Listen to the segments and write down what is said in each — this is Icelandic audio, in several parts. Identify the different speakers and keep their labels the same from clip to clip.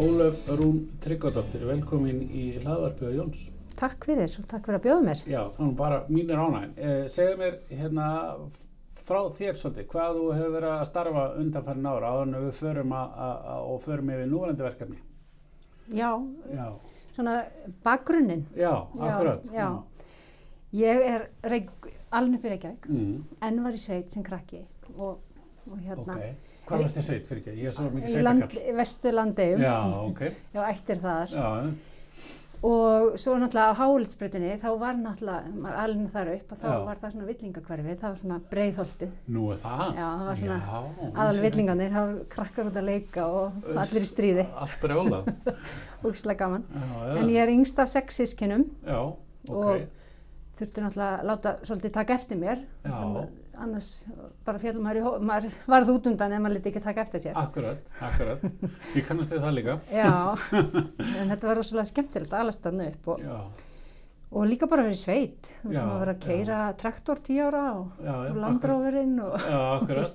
Speaker 1: Ólaf Rún Tryggvadóttir, velkomin í hlaðvarpið á Jóns.
Speaker 2: Takk fyrir og takk fyrir að bjóða mér.
Speaker 1: Já, þá er nú bara mínir ánægin. Eh, segðu mér hérna frá þér svolítið, hvað þú hefur verið að starfa undanfærin ára áður en við förum að, að, að, og förum yfir núverandi verkefni.
Speaker 2: Já,
Speaker 1: Já,
Speaker 2: svona bakgrunnin.
Speaker 1: já, akkurat.
Speaker 2: Já, já. Ég er reik, alveg upp í Reykjavík,
Speaker 1: Mm,
Speaker 2: en var í sveit sem krakki og, og
Speaker 1: ok,
Speaker 2: hérna.
Speaker 1: hvað varst þið sveit fyrir ekki? Ég er svo mikið
Speaker 2: Í land,
Speaker 1: sveitakall.
Speaker 2: vestu landeigum,
Speaker 1: Já, ok,
Speaker 2: já, ættir þar.
Speaker 1: já,
Speaker 2: Og svo náttúrulega á hálitsbrytinni, þá var náttúrulega, maður alveg þar upp og þá
Speaker 1: Já.
Speaker 2: var það svona villingakverfið, það var svona breiðholtið.
Speaker 1: nú er það.
Speaker 2: Já, það var svona
Speaker 1: Já,
Speaker 2: Aðal
Speaker 1: vissi
Speaker 2: villingarnir, það var krakkar út að leika og
Speaker 1: Uss.
Speaker 2: allir í stríði,
Speaker 1: ekki. Allt brjólað.
Speaker 2: úkslega gaman.
Speaker 1: Já,
Speaker 2: En ég er yngst af sex sískinum
Speaker 1: já, ok,
Speaker 2: og- þurfti náttúrulega að láta svolítið taka eftir mér
Speaker 1: Já.
Speaker 2: Þannig að annars bara fjallum maður, í hó- maður varð út undan ef maður liti ekki taka eftir sér
Speaker 1: akkurat, akkurat. Ég kannast við það líka.
Speaker 2: Já, en þetta var rosalega skemmtilegt að alast þarna upp og,
Speaker 1: Já,
Speaker 2: og líka bara verið sveit, þú veist
Speaker 1: Já,
Speaker 2: maður var að keira traktor tíu ára og,
Speaker 1: já, já.
Speaker 2: og
Speaker 1: akkurat.
Speaker 2: landrófurinn og,
Speaker 1: Já, akkurat.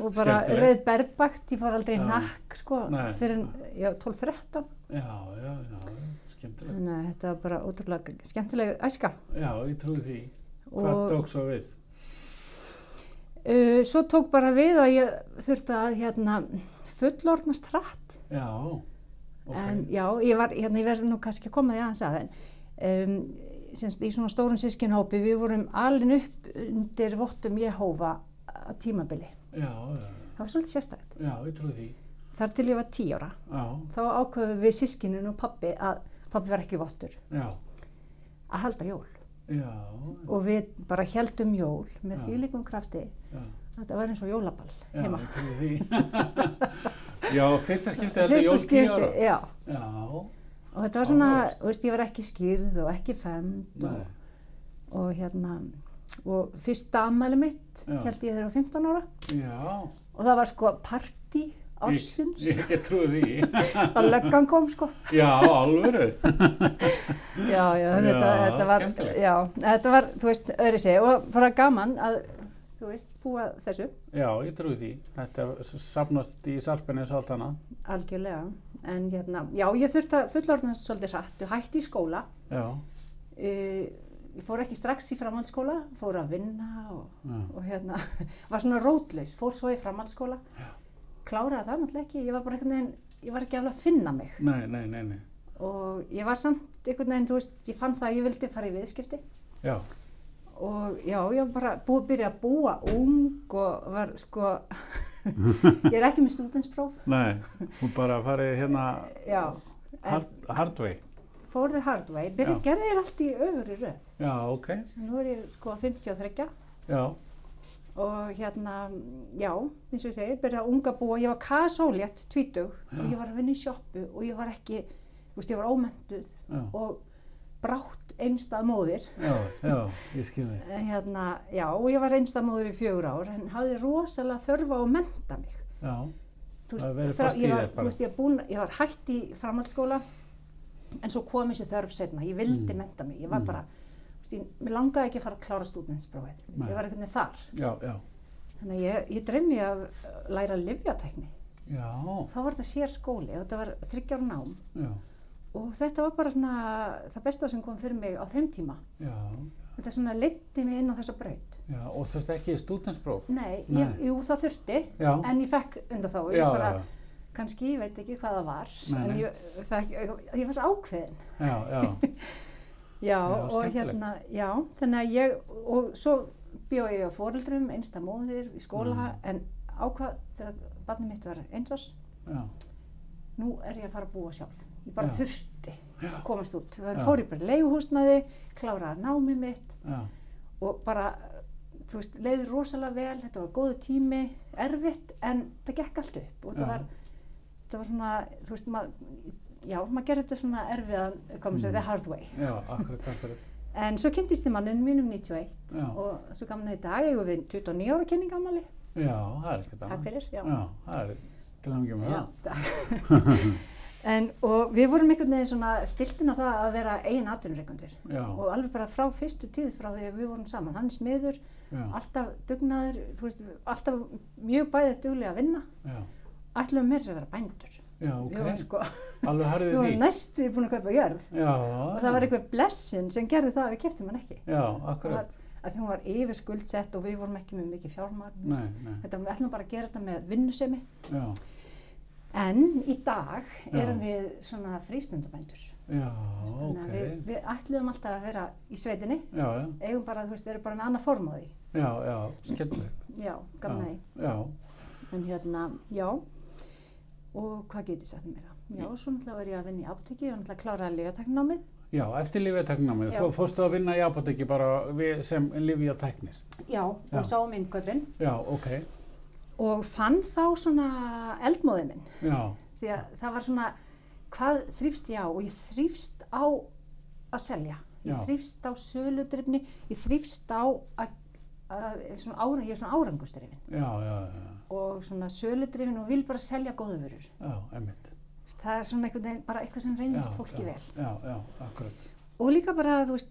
Speaker 2: og bara
Speaker 1: Skemmtilegt.
Speaker 2: rauð berbakt, ég fór aldrei
Speaker 1: Já.
Speaker 2: í nakk sko,
Speaker 1: Nei.
Speaker 2: fyrir en, já, 12-13
Speaker 1: Já, já, já, skemmtilegt.
Speaker 2: þannig að þetta var bara ótrúlega skemmtileg æska
Speaker 1: Já, ég trúi því. Hvað
Speaker 2: og
Speaker 1: tók svo við?
Speaker 2: uh, svo tók bara við að ég þurfti að hérna, fullorðnast hratt
Speaker 1: Já, ok.
Speaker 2: En já, ég var, hérna, ég verði nú kannski að koma því aðeins að, en um, semst, í svona stórum sískinhópi, við vorum alin upp undir vottum Jehóva að tímabili.
Speaker 1: Já, já,
Speaker 2: Það var svolítið sérstætt.
Speaker 1: já, ég trúi því.
Speaker 2: Þar til ég var tí ára,
Speaker 1: Já,
Speaker 2: þá ákveðum við sískinin og pabbi að pabbi var ekki vottur
Speaker 1: já,
Speaker 2: að halda jól.
Speaker 1: já,
Speaker 2: Og við bara heldum jól með
Speaker 1: Já.
Speaker 2: þvílikum krafti
Speaker 1: já,
Speaker 2: að þetta var eins og jólaball
Speaker 1: já
Speaker 2: heima.
Speaker 1: ég trúi því. já, fyrsta skipti heldur
Speaker 2: Fyrsta
Speaker 1: jól tíu ára.
Speaker 2: skipti, já.
Speaker 1: Já,
Speaker 2: Og þetta var svona,
Speaker 1: Áhugavert.
Speaker 2: þú veist, ég var ekki skýrð og ekki femd og
Speaker 1: nei,
Speaker 2: og hérna og fyrsta ammæli mitt
Speaker 1: Já.
Speaker 2: held ég þegar ég var 15 ára
Speaker 1: já.
Speaker 2: og það var sko party ársins
Speaker 1: Ég, ég trúi því.
Speaker 2: að löggan kom sko
Speaker 1: já, alvöru.
Speaker 2: já, já,
Speaker 1: Já,
Speaker 2: þetta, þetta var
Speaker 1: skemmtilegt.
Speaker 2: já, þetta var, þú veist, öðri sig og bara gaman að, þú veist, búa þessu
Speaker 1: Já, ég trúi því. Þetta s- safnast í sarpinni eins og allt annað.
Speaker 2: algjörlega, en hérna já, ég þurfti að fullorðnast svolítið hratt og hætti í skóla
Speaker 1: Já,
Speaker 2: uh, ég fór ekki strax í framhaldsskóla fór að vinna og,
Speaker 1: já,
Speaker 2: og hérna, var svona rótlaus, fór svo í framhaldsskóla,
Speaker 1: Já.
Speaker 2: kláraði það náttúrulega ekki, ég var bara einhvern veginn, ég var ekki alveg að finna mig
Speaker 1: nei, nei, nei, nei.
Speaker 2: og ég var samt einhvern veginn, þú veist, ég fann það að ég vildi fara í viðskipti
Speaker 1: Já,
Speaker 2: og já, ég var bara búið að byrja að búa ung og var sko, ég er ekki með stúdenspróf,
Speaker 1: nei, hún bara farið hérna
Speaker 2: já, en
Speaker 1: Hard, hardway?
Speaker 2: fór þið hard way, byrja,
Speaker 1: Já.
Speaker 2: gerði þér allt í öfri röð,
Speaker 1: Já, ok.
Speaker 2: nú er ég sko 53
Speaker 1: Já,
Speaker 2: og hérna, já, eins og ég segi, byrjaði að unga búa, ég var kasólétt, tvítug og ég var að vinna í sjoppu og ég var ekki, þú veist, ég var ómentuð
Speaker 1: já,
Speaker 2: og brátt einstað móðir,
Speaker 1: já, já ég skil þig.
Speaker 2: En hérna, já, og ég var einstað móðir í fjögur ár en hafði rosalega þörfa á að menta mig.
Speaker 1: Já,
Speaker 2: Þú
Speaker 1: Það verið
Speaker 2: þrá-
Speaker 1: fast í
Speaker 2: ég var,
Speaker 1: þér bara.
Speaker 2: þú veist, ég, var búin, ég var hætt í framhaldsskóla en svo kom þessi þörf setna, ég vildi
Speaker 1: Mm.
Speaker 2: mennta mig, ég var
Speaker 1: Mm.
Speaker 2: bara, þú veist, ég, mér langaði ekki að fara að klára stúdinsprófið,
Speaker 1: Nei.
Speaker 2: ég var einhvern veginn þar.
Speaker 1: já, já,
Speaker 2: Þannig að ég, ég dreymi að uh, læra livjatekni.
Speaker 1: já,
Speaker 2: Þá var þetta sér skóli og þetta var þryggjar nám
Speaker 1: já,
Speaker 2: og þetta var bara svona það besta sem kom fyrir mig á þeim tíma.
Speaker 1: já,
Speaker 2: Þetta svona leiddi mig inn á þessa braut.
Speaker 1: já, og þurfti ekki stúdenspróf?
Speaker 2: Nei, Ég,
Speaker 1: Nei.
Speaker 2: jú það þurfti
Speaker 1: Já,
Speaker 2: en ég fekk undan þá. Ég
Speaker 1: já,
Speaker 2: bara,
Speaker 1: já,
Speaker 2: kannski, ég veit ekki hvað það var,
Speaker 1: Nei, nei.
Speaker 2: en ég, fekk, ég var svo ákveðin.
Speaker 1: já, já,
Speaker 2: Já, og
Speaker 1: skemmtilegt.
Speaker 2: hérna, já, þannig að ég, og svo bjóð ég á foreldrum, einsta móðir, í skóla, en ákvað þegar barnið mitt var einsás,
Speaker 1: já,
Speaker 2: nú er ég að fara að búa sjálf. Ég bara
Speaker 1: Já.
Speaker 2: þurfti
Speaker 1: Já.
Speaker 2: að komast út. Það
Speaker 1: Já.
Speaker 2: fór ég bara í leiguhúsnaði, kláraði námið mitt
Speaker 1: já,
Speaker 2: og bara, þú veist, leiði rosalega vel, þetta var góðu tími, erfitt, en það gekk allt upp og
Speaker 1: Já.
Speaker 2: það var, það var svona, þú veist, maður, já, maður gerði þetta svona erfiðan, komið svo,
Speaker 1: Mm.
Speaker 2: the hard way.
Speaker 1: já, akkurat, akkurat.
Speaker 2: En svo kynntist ég manninn mínum 91
Speaker 1: Já,
Speaker 2: og svo gaman þetta dag, ég var við 29 ára kynningamali,
Speaker 1: já, það er ekkert
Speaker 2: takk
Speaker 1: annað.
Speaker 2: fyrir, já.
Speaker 1: Já, það er til að mikið með
Speaker 2: Já,
Speaker 1: það.
Speaker 2: takk. en, og við vorum einhvern veginn svona stiltin á það að vera eigin atvinnureikundir
Speaker 1: Já,
Speaker 2: og alveg bara frá fyrstu tíð frá því að við vorum saman, hann er smiður,
Speaker 1: já,
Speaker 2: alltaf dugnaður, þú veist, alltaf mjög bæðið duglega að vinna,
Speaker 1: já,
Speaker 2: ætlaðum mér þess að vera bændur
Speaker 1: já, ok,
Speaker 2: Við vorum sko,
Speaker 1: alveg
Speaker 2: við
Speaker 1: harðið
Speaker 2: vorum
Speaker 1: því.
Speaker 2: næstu búin að kaupa jörð
Speaker 1: Já,
Speaker 2: og það var einhver blessin sem gerði það að við keftum hann ekki.
Speaker 1: Já,
Speaker 2: Það var-
Speaker 1: akkurat,
Speaker 2: Að því hún var yfir skuldsett og við vorum ekki með mikið fjármagn. þú
Speaker 1: nei,
Speaker 2: veist.
Speaker 1: nei,
Speaker 2: Þetta, við ætlum bara að gera þetta með vinnusemi.
Speaker 1: já,
Speaker 2: En í dag
Speaker 1: Já.
Speaker 2: erum við svona frístundabændur.
Speaker 1: já,
Speaker 2: Þú veist,
Speaker 1: ok,
Speaker 2: þannig að við, við ætlum alltaf að vera í sveitinni
Speaker 1: já, já,
Speaker 2: eigum bara, þú veist, við erum bara með annað form á því
Speaker 1: já, já, skemmtilegt,
Speaker 2: já,
Speaker 1: Já.
Speaker 2: gamna því,
Speaker 1: já,
Speaker 2: en hérna, já og hvað get ég sagt meira já, svo náttúrulega var ég að vinna í apteki og náttúrulega kláraði lífataknámið
Speaker 1: já, eftir lífjarteknámið,
Speaker 2: Já.
Speaker 1: þú fórstu að vinna í apotekki bara við, sem lífjarteknir,
Speaker 2: já, og
Speaker 1: Já.
Speaker 2: já. sáum innkaupin
Speaker 1: já, ok,
Speaker 2: og fann þá svona eldmóðið minn
Speaker 1: já,
Speaker 2: því að það var svona, hvað þrýfst ég á og ég þrýfst á að selja
Speaker 1: Já.
Speaker 2: ég þrýfst á söludrifni ég þrýfst á að, að svona árang, ég er svona árangusdrifin
Speaker 1: já, já, já,
Speaker 2: og svona söludrifin og vil bara selja góðu vörur.
Speaker 1: já, emmitt,
Speaker 2: Það er svona einhvern veginn, bara eitthvað sem reynist fólki
Speaker 1: já,
Speaker 2: vel.
Speaker 1: já, já, akkurat,
Speaker 2: Og líka bara, þú veist,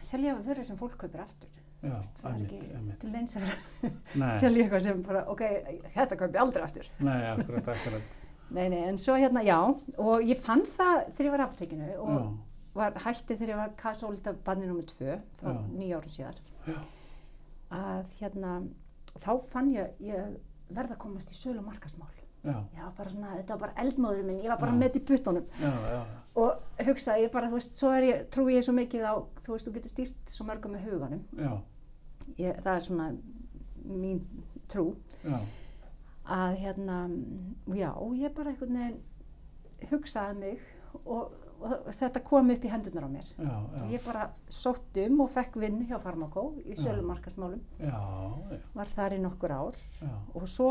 Speaker 2: selja vörur sem fólk kaupir aftur.
Speaker 1: já,
Speaker 2: Það er
Speaker 1: emmitt,
Speaker 2: ekki
Speaker 1: emmitt,
Speaker 2: til neins að vera að
Speaker 1: nei,
Speaker 2: selja eitthvað sem bara, ok, þetta kaupi aldrei aftur.
Speaker 1: nei, akkurat, akkurat,
Speaker 2: Nei, nei, en svo hérna, já, og ég fann það þegar ég var í aptekinu og
Speaker 1: já,
Speaker 2: var hætti þegar ég var kasólita banni nr. 2, þá
Speaker 1: Já.
Speaker 2: nýja árum síðar,
Speaker 1: já,
Speaker 2: að hérna, þá fann ég, ég verða að komast í sölu og markasmál.
Speaker 1: já,
Speaker 2: Já, bara svona, þetta var bara eldmóðurinn minn, ég var bara
Speaker 1: Já.
Speaker 2: með í puttunum.
Speaker 1: já, já,
Speaker 2: og hugsa ég bara, þú veist, svo er ég, trúi ég svo mikið á, þú veist, þú getur stýrt svo mörgum með huganum,
Speaker 1: já,
Speaker 2: ég, það er svona mín trú,
Speaker 1: já,
Speaker 2: að hérna, mm, já, ég bara einhvern veginn hugsaði mig og, og þetta kom upp í hendurnar á mér.
Speaker 1: já, já,
Speaker 2: Ég bara sótt um og fekk vinnu hjá Farmakó í
Speaker 1: Já.
Speaker 2: sölumarkasmálum,
Speaker 1: já,
Speaker 2: var þar í nokkur ár
Speaker 1: já,
Speaker 2: og svo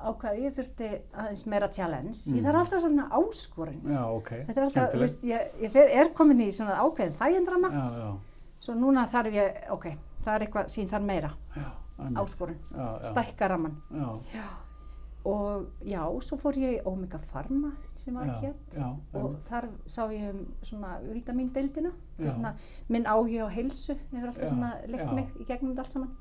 Speaker 2: ákvaði ég þurfti aðeins meira challenge.
Speaker 1: Mm.
Speaker 2: Ég þarf alltaf svona áskorun.
Speaker 1: já, ok,
Speaker 2: Þetta er alltaf, þú
Speaker 1: skemmtilegt.
Speaker 2: veist, hérna. ég, ég fer, er komin í svona ákveðin þægindrama,
Speaker 1: já, já,
Speaker 2: svo núna þarf ég, ok, það er eitthvað sín þar meira,
Speaker 1: já, einmitt.
Speaker 2: áskorun,
Speaker 1: Mm. já, já,
Speaker 2: stækka ramman.
Speaker 1: já,
Speaker 2: Já. Og já, svo fór ég í Omega Pharma sem var
Speaker 1: já,
Speaker 2: hér
Speaker 1: já,
Speaker 2: og
Speaker 1: einmitt.
Speaker 2: þar sá ég um svona vítamindeildina, Þetta
Speaker 1: Já.
Speaker 2: er svona, minn áhugi á heilsu, hefur alltaf
Speaker 1: Já,
Speaker 2: svona
Speaker 1: já.
Speaker 2: leikt mig í gegnum þetta allt saman.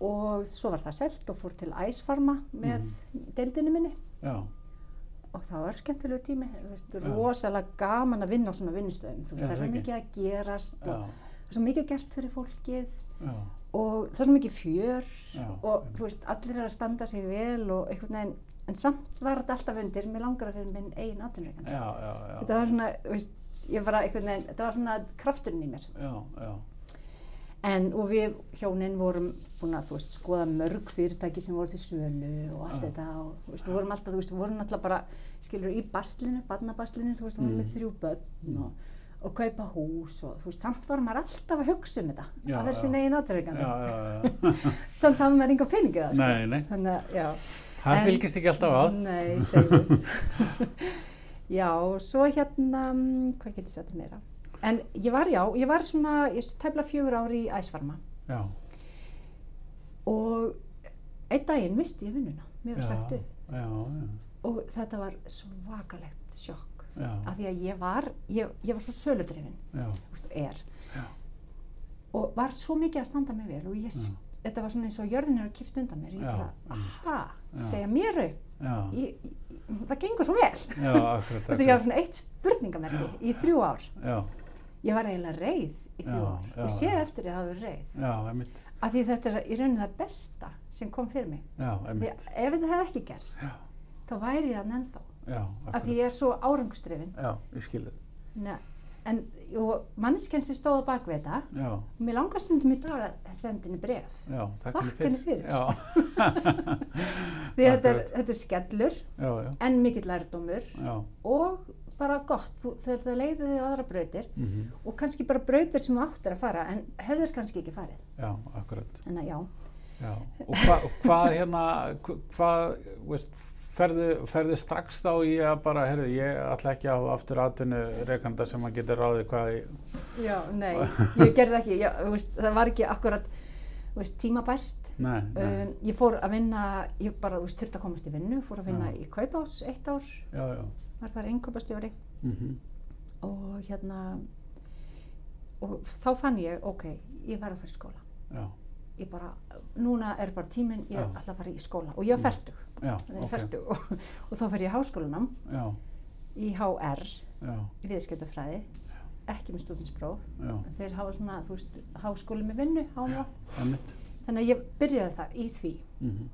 Speaker 2: Og svo var það selt og fór til Ice Pharma með
Speaker 1: Mm.
Speaker 2: deildinni minni
Speaker 1: já,
Speaker 2: og það var skemmtilegu tími, þú veist,
Speaker 1: Já.
Speaker 2: rosalega gaman að vinna á svona vinnustöðum, þú veist,
Speaker 1: Já,
Speaker 2: það er
Speaker 1: það
Speaker 2: svo
Speaker 1: ekki.
Speaker 2: mikið að gerast og
Speaker 1: já,
Speaker 2: það er svo mikið gert fyrir fólkið
Speaker 1: já,
Speaker 2: og það er svo mikið fjör
Speaker 1: já,
Speaker 2: og
Speaker 1: einmitt.
Speaker 2: þú veist, allir eru að standa sig vel og einhvern veginn, en samt var þetta alltaf undir, mér langar að fyrir minn eigin atvinnureikandi.
Speaker 1: já, já, já,
Speaker 2: Þetta var svona, þú veist, ég bara einhvern veginn, þetta var svona krafturinn í mér.
Speaker 1: já, já,
Speaker 2: En, og við hjónin vorum búin að, þú veist, skoða mörg fyrirtæki sem voru til sölu og allt
Speaker 1: Já.
Speaker 2: þetta og, þú veist, við vorum alltaf, þú veist, við vorum alltaf bara, skilur, í baslinu, barnabaslinu, þú veist, við vorum
Speaker 1: Mm.
Speaker 2: með þrjú börn og, og kaupa hús og, þú veist, samt var maður alltaf að hugsa um þetta,
Speaker 1: Já,
Speaker 2: að vera
Speaker 1: já.
Speaker 2: sinna eigin
Speaker 1: já,
Speaker 2: átryggandi,
Speaker 1: já, já,
Speaker 2: samt hafði maður enga peningið það,
Speaker 1: nei, nei,
Speaker 2: þannig að, já.
Speaker 1: það
Speaker 2: En-
Speaker 1: fylgist ekki alltaf að,
Speaker 2: Nei, segjum. já, svo hérna, mm, hvað getur ég sagt meira? En ég var, já, ég var svona, ég tefla fjögur ári í æsfarma
Speaker 1: já,
Speaker 2: og einn daginn misti ég vinnuna, mér var
Speaker 1: já,
Speaker 2: sagt upp
Speaker 1: já, já,
Speaker 2: og þetta var svakalegt sjokk
Speaker 1: já,
Speaker 2: af því að ég var, ég, ég var svo söludrifin,
Speaker 1: já,
Speaker 2: þú veist, og er
Speaker 1: Já.
Speaker 2: og var svo mikið að standa mig vel og ég, s-
Speaker 1: Já.
Speaker 2: þetta var svona eins og jörðin er að kipta undan mér, ég
Speaker 1: Mm. Já,
Speaker 2: bara,
Speaker 1: einmitt.
Speaker 2: aha,
Speaker 1: Já.
Speaker 2: segja mér upp,
Speaker 1: já,
Speaker 2: ég, ég, það gengur svo vel.
Speaker 1: já, akkurat,
Speaker 2: Þetta ég hafði svona eitt spurningamerki í þrjú ár.
Speaker 1: já,
Speaker 2: Ég var eiginlega reið í þrjú
Speaker 1: Já,
Speaker 2: ár.
Speaker 1: já,
Speaker 2: ég sé
Speaker 1: já.
Speaker 2: eftir því að það var reið.
Speaker 1: já, einmitt,
Speaker 2: Af því þetta er í rauninni það besta sem kom fyrir mig.
Speaker 1: já,
Speaker 2: Því
Speaker 1: einmitt,
Speaker 2: að ef þetta hefði ekki gerst,
Speaker 1: Já.
Speaker 2: þá væri ég þann ennþá.
Speaker 1: já,
Speaker 2: Af því
Speaker 1: akkurat,
Speaker 2: ég er svo árangustrefin.
Speaker 1: já, ég skil þig,
Speaker 2: En manneskjan sem stóða bak við þetta,
Speaker 1: já,
Speaker 2: og mér langar stundum í dag að senda henni bref.
Speaker 1: já, takk
Speaker 2: Þakka henni fyrir.
Speaker 1: já,
Speaker 2: Því þetta er,
Speaker 1: Akkurat.
Speaker 2: þetta er skellur,
Speaker 1: já, já,
Speaker 2: en mikill lærdómur
Speaker 1: já,
Speaker 2: og bara gott. Þú, þegar það leiði þig á aðra brautir
Speaker 1: mhm,
Speaker 2: og kannski bara brautir sem þú áttir að fara en hefðir kannski ekki farið.
Speaker 1: já, akkurat,
Speaker 2: En að já,
Speaker 1: já, og hva, hvað hérna, hva- hvað, veist, ferðu, ferðu strax þá í að bara, herru, ég ætla ekki að hafa aftur atvinnu rekanda sem að geta ráðið hvað, ég-
Speaker 2: já, nei, ég gerði ekki, já, þú veist, það var ekki akkurat þú veist, tímabært.
Speaker 1: nei, nei,
Speaker 2: Um, ég fór að vinna, ég bara, þú veist, þurfti að komast í vinnu, fór að vinna
Speaker 1: Já.
Speaker 2: í kaupás eitt ár,
Speaker 1: já, já,
Speaker 2: var þar einkaupastjóri
Speaker 1: mhm,
Speaker 2: og hérna, og þá fann ég, ok, ég verði að fara í skóla.
Speaker 1: já,
Speaker 2: Ég bara, núna er bara tíminn, ég
Speaker 1: Já.
Speaker 2: ætla að fara í skóla og ég er
Speaker 1: Mm.
Speaker 2: færtug.
Speaker 1: já,
Speaker 2: þannig
Speaker 1: ok,
Speaker 2: okay. og, og þá fer ég í háskólanám
Speaker 1: já,
Speaker 2: í HR,
Speaker 1: já,
Speaker 2: í viðskiptafræði, ekki með stúdinspróf.
Speaker 1: já,
Speaker 2: Þeir hafa svona, þú veist, háskóli með vinnu, hámá.
Speaker 1: emmitt,
Speaker 2: Þannig að ég byrjaði það í því
Speaker 1: mhm,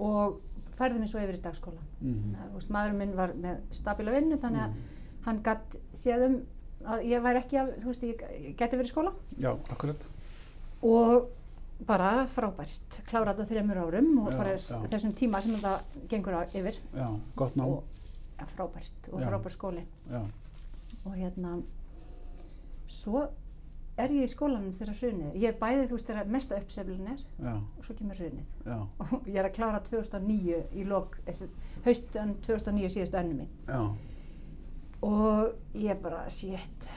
Speaker 2: og færði mig svo yfir í dagskóla.
Speaker 1: mhm,
Speaker 2: Þú veist, maðurinn minn var með stabíla vinnu þannig
Speaker 1: Mm.
Speaker 2: að hann gatt séð um að ég væri ekki, að, þú veist, ég ég gæti verið í skóla
Speaker 1: já, akkurat,
Speaker 2: og bara frábært, klárat á þreymur árum og
Speaker 1: Já,
Speaker 2: bara
Speaker 1: já.
Speaker 2: já. þessum tíma sem það gengur á yfir
Speaker 1: já, gott nám,
Speaker 2: og ja, frábært og
Speaker 1: Já.
Speaker 2: frábær skóli
Speaker 1: já,
Speaker 2: og hérna svo er ég í skólanum þegar hrunið er. ég er bæðið þú veist þegar mesta uppseflun er
Speaker 1: já,
Speaker 2: og svo kemur hrunið
Speaker 1: já,
Speaker 2: og ég er að klára 2009 í lok, haustan 2009 síðustu önnu mín
Speaker 1: já,
Speaker 2: og ég bara, shit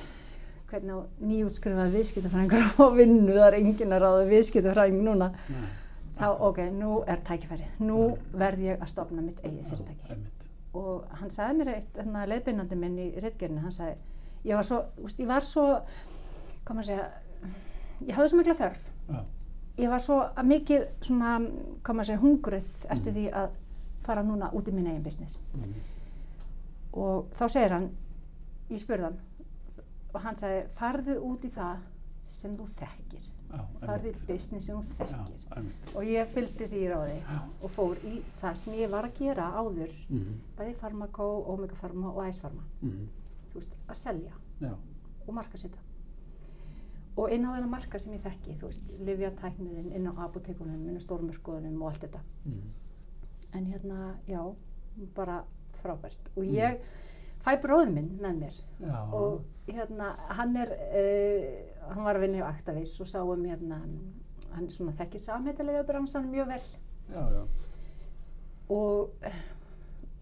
Speaker 2: hvernig á nýjútskrifað viðskiptafræðingur á að vinnu, það er enginn að ráða viðskiptafræðing núna
Speaker 1: Nei.
Speaker 2: þá ok, nú er tækifærið, nú verð ég að stopna mitt eigið
Speaker 1: já,
Speaker 2: fyrirtæki
Speaker 1: emmitt,
Speaker 2: og hann sagði mér eitt hérna, leiðbeinandi minn í reitgerinu, hann sagði ég var svo, úst, ég var svo hvað maður segja ég hafði svo mikla þörf
Speaker 1: já,
Speaker 2: ég var svo mikið svona, hvað maður segja, hungruð eftir því að fara núna út í minn eigin business
Speaker 1: mhm,
Speaker 2: og þá segir hann ég spurði hann og hann sagði farðu út í það sem þú þekkir
Speaker 1: já,
Speaker 2: farðu í
Speaker 1: emmitt,
Speaker 2: business sem þú
Speaker 1: já,
Speaker 2: þekkir
Speaker 1: emmitt,
Speaker 2: og ég fylgdi því í ráði og fór í það sem ég var að gera áður
Speaker 1: mhm,
Speaker 2: bæði Pharmaco, Omega Pharma og Ice Pharma
Speaker 1: mhm,
Speaker 2: þú veist, að selja
Speaker 1: já,
Speaker 2: og markasetja og inn á þennan marka sem ég þekki þú veist, livjatæknirinn, inn á apotekunum inn á stórmörskoðunum og allt þetta
Speaker 1: mhm,
Speaker 2: en hérna, já, bara frábært og ég fæ bróð minn með mér
Speaker 1: já,
Speaker 2: og hérna, hann er uh, hann var að vinna hjá Actavis og sáum hérna, hann svona þekkir samheitalega bransan mjög vel
Speaker 1: já, já,
Speaker 2: og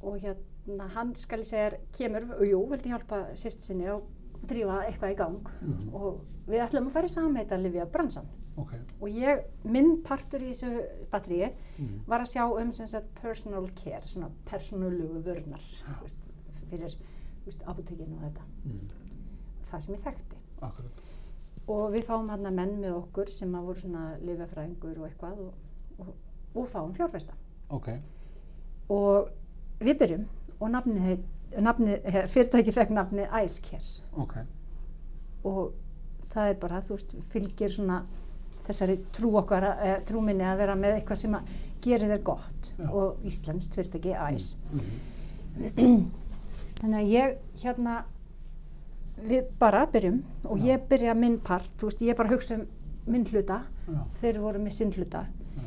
Speaker 2: og hérna, hann skal ég segja þér, kemur, og jú, vildi hjálpa sýst sinni og drífa eitthvað í gang
Speaker 1: Mhm.
Speaker 2: og við ætlum að fara í samheitalega bransan
Speaker 1: ok,
Speaker 2: og ég, minn partur í þessu batteríi
Speaker 1: mhm,
Speaker 2: var að sjá um sem sagt personal care, svona persónulegu vörnar þú veist, fyrir þú veist, apotekinu og þetta,
Speaker 1: mhm,
Speaker 2: það sem ég þekkti
Speaker 1: akkurat,
Speaker 2: og við fáum hérna menn með okkur sem að voru svona lifafræðingur og eitthvað og, og, og fáum fjárfesta
Speaker 1: ok,
Speaker 2: og við byrjum og nafnið, heit, nafnið eh, fyrirtæki fekk nafnið Icecare
Speaker 1: ok,
Speaker 2: og það er bara, þú veist, fylgir svona þessari trú okkar, að- eh, trú minni að vera með eitthvað sem að gerir þér gott
Speaker 1: Já.
Speaker 2: og íslenskt fyrirtæki Ice
Speaker 1: mhm,
Speaker 2: þannig að ég hérna við bara byrjum og
Speaker 1: Já.
Speaker 2: ég byrja minn part, þú veist, ég bara hugsa um minn hluta
Speaker 1: já,
Speaker 2: þeir voru með sinn hluta
Speaker 1: Já.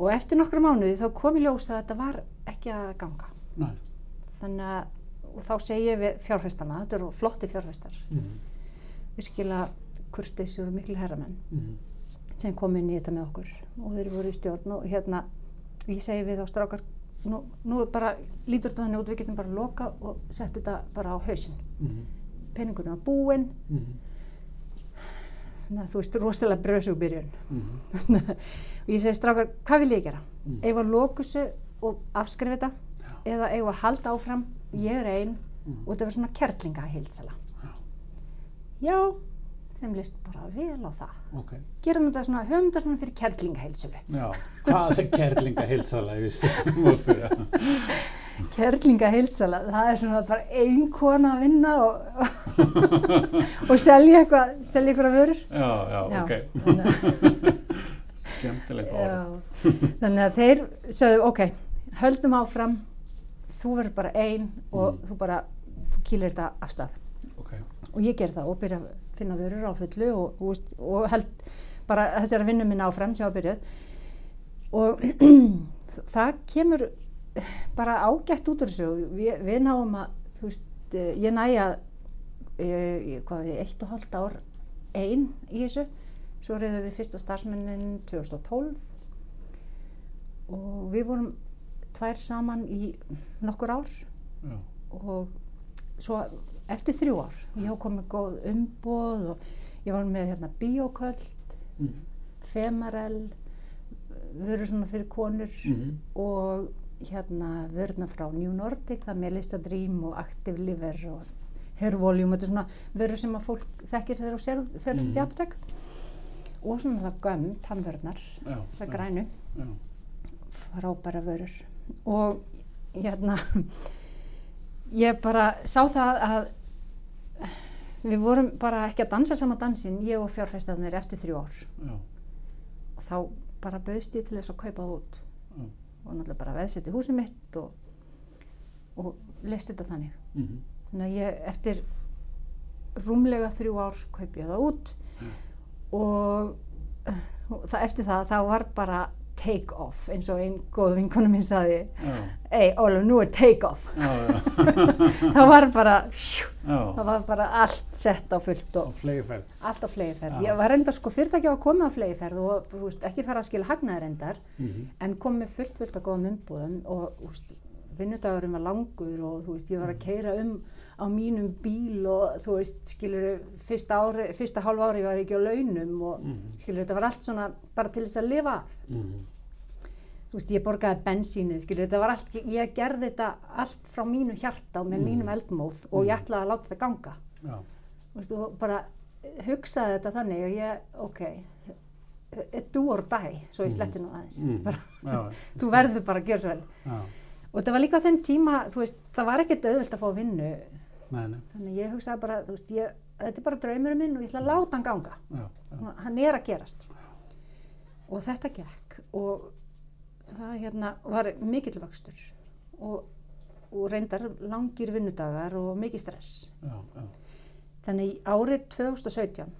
Speaker 2: og eftir nokkra mánuði þá kom í ljós að þetta var ekki að ganga
Speaker 1: næ,
Speaker 2: þannig að og þá segi ég við fjárfestana, þetta eru flotti fjárfestar
Speaker 1: mhm,
Speaker 2: virkilega kurteisur og miklu herramenn
Speaker 1: mhm,
Speaker 2: sem kom inn í þetta með okkur og þeir voru í stjórn og hérna og ég segi við þá strákar nú, nú er bara lítur þetta þannig út, við getum bara loka og sett þetta bara á hausinn
Speaker 1: mhm,
Speaker 2: peningurinn var búinn
Speaker 1: mhm,
Speaker 2: þannig að þú veist rosalega bröðsug byrjun
Speaker 1: mhm,
Speaker 2: og ég segi strákar, hvað vil ég gera? Mm.
Speaker 1: Mm.
Speaker 2: Eigum við að loka þessu og afskrifa þetta eða eigum við að halda áfram, ég er ein
Speaker 1: Mm.
Speaker 2: og þetta var svona kerlinga heilsala.
Speaker 1: Já.
Speaker 2: Já, þeim list bara vel á það.
Speaker 1: ok,
Speaker 2: Gerum þetta svona, höfum þetta svona fyrir kerlinga heilsölu.
Speaker 1: já, hvað er kerlinga heilsala, ég vissi, maður fyrir það,
Speaker 2: Kerlinga heilsala, það er svona bara ein kona að vinna og, og selja eitthvað, selja eitthvað vörur.
Speaker 1: já, já,
Speaker 2: Já,
Speaker 1: ok,
Speaker 2: þannig að-
Speaker 1: skemmtilegt
Speaker 2: Já.
Speaker 1: orð,
Speaker 2: Þannig að þeir sögðu, ok, höldum áfram, þú verður bara ein og
Speaker 1: Mm.
Speaker 2: þú bara, þú kýlir þetta af stað.
Speaker 1: ok,
Speaker 2: Og ég ger það og byrja að finna vörur á fullu og, og, veist, og held bara þessari vinnu minna áfram sem ég var byrjuð. Og það kemur bara ágætt út úr þessu. Við, við náum að, þú veist, eh, ég næja, eh, hvað er ég, eitt og hálft ár ein í þessu. Svo reyðum við fyrsta starfsmennin 2012 og við vorum tvær saman í nokkur ár
Speaker 1: já,
Speaker 2: og svo eftir þrjú ár ég kom með góð umboð og ég var með hérna bioköld
Speaker 1: mhm,
Speaker 2: femarel vörur svona fyrir konur
Speaker 1: mhm,
Speaker 2: og hérna vörurna frá New Nordic það er Melissa Dream og Active Liver og Hair Volume, þetta er svona vörur sem að fólk þekkir þegar þú sér- fer út
Speaker 1: Mhm.
Speaker 2: í aptek og svona það gömm, tannvörnar
Speaker 1: já,
Speaker 2: þessar
Speaker 1: já,
Speaker 2: grænu
Speaker 1: já,
Speaker 2: frábæra vörur og hérna ég bara sá það að við vorum bara ekki að dansa sama dansinn ég og fjárfæstarnir eftir þrjú ár
Speaker 1: já,
Speaker 2: og þá bara bauðst ég til þess að kaupa það út
Speaker 1: já.
Speaker 2: og náttúrulega bara veðsetti húsið mitt og, og list þetta þannig
Speaker 1: mhm,
Speaker 2: þannig að ég eftir rúmlega þrjú ár kaup ég það út
Speaker 1: Mm.
Speaker 2: og eh, og það, eftir það þá var bara take off eins og einn góð vinkonu minn saði
Speaker 1: já,
Speaker 2: ei Ólaf nú er take off
Speaker 1: já,
Speaker 2: það var bara sjú,
Speaker 1: já,
Speaker 2: það
Speaker 1: já,
Speaker 2: var bara allt sett á fullt
Speaker 1: á
Speaker 2: og
Speaker 1: flegiferð.
Speaker 2: allt á flegiferð
Speaker 1: Já.
Speaker 2: ég var reyndar sko fyrirtæki var komið á flegiferð og þú veist, ekki fara að skila hagnaði reyndar
Speaker 1: Mhm,
Speaker 2: en kom með fullt fullt af góðum umbúðum og þú veist, vinnudagurinn var langur og þú veist, ég var að keira um á mínum bíl og þú veist, skilur fyrsta, ári, fyrsta hálf ári var ég ekki á launum og
Speaker 1: Mhm.
Speaker 2: skilur þetta var allt svona bara til þess að lifa af
Speaker 1: mhm,
Speaker 2: þú veist, ég borgaði bensínið, skilur þetta var allt, ég gerði þetta allt frá mínu hjarta og með mínum eldmóð og ég ætlaði að láta þetta ganga
Speaker 1: já,
Speaker 2: Þú veist, og bara hugsaði þetta þannig og ég, ok e, do or die, svo ég sletti nú aðeins
Speaker 1: Mhm.
Speaker 2: bara,
Speaker 1: já,
Speaker 2: þú verður bara að gera svo vel
Speaker 1: já,
Speaker 2: og þetta var líka á þeim tíma þú veist, það var ekkert auðvelt að fá vinnu
Speaker 1: nei, nei,
Speaker 2: þannig að ég hugsaði bara, þú veist, ég, þetta er bara draumurinn minn og ég ætla að láta hann ganga
Speaker 1: já, já,
Speaker 2: Hún- hann er að gerast og þetta gekk og það hérna var mikill vöxtur og, og reyndar langir vinnudagar og mikið stress
Speaker 1: já, já,
Speaker 2: þannig í árið 2017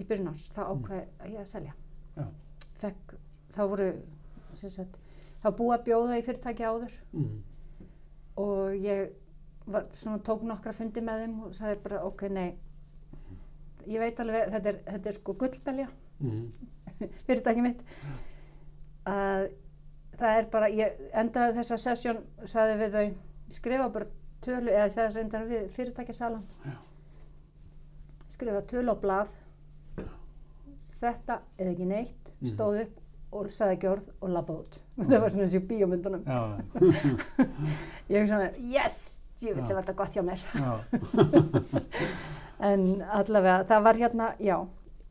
Speaker 2: í byrjun árs þá ákveð ég að selja
Speaker 1: Já.
Speaker 2: Fekk, þá voru sem sagt, þá búið að bjóða í fyrirtæki áður
Speaker 1: mhm,
Speaker 2: og ég var, svona, tók nokkra fundi með þeim og sagði bara ok, nei ég veit alveg, þetta er, þetta er sko gullbelja
Speaker 1: mhm,
Speaker 2: fyrirtæki mitt að það er bara ég endaði þessa sessjón sagði við þau, skrifa bara tölu eða sagði reyndar við fyrirtækjasalan
Speaker 1: Já.
Speaker 2: skrifa tölu á blað þetta eða ekki neitt
Speaker 1: Mhm.
Speaker 2: stóð upp og sagði ekki orð og labba út það var svona þessi bíómyndunum
Speaker 1: já,
Speaker 2: ég hugsa með, yes, ég vil
Speaker 1: Já.
Speaker 2: þetta gott hjá mér
Speaker 1: já,
Speaker 2: en allavega, það var hérna, já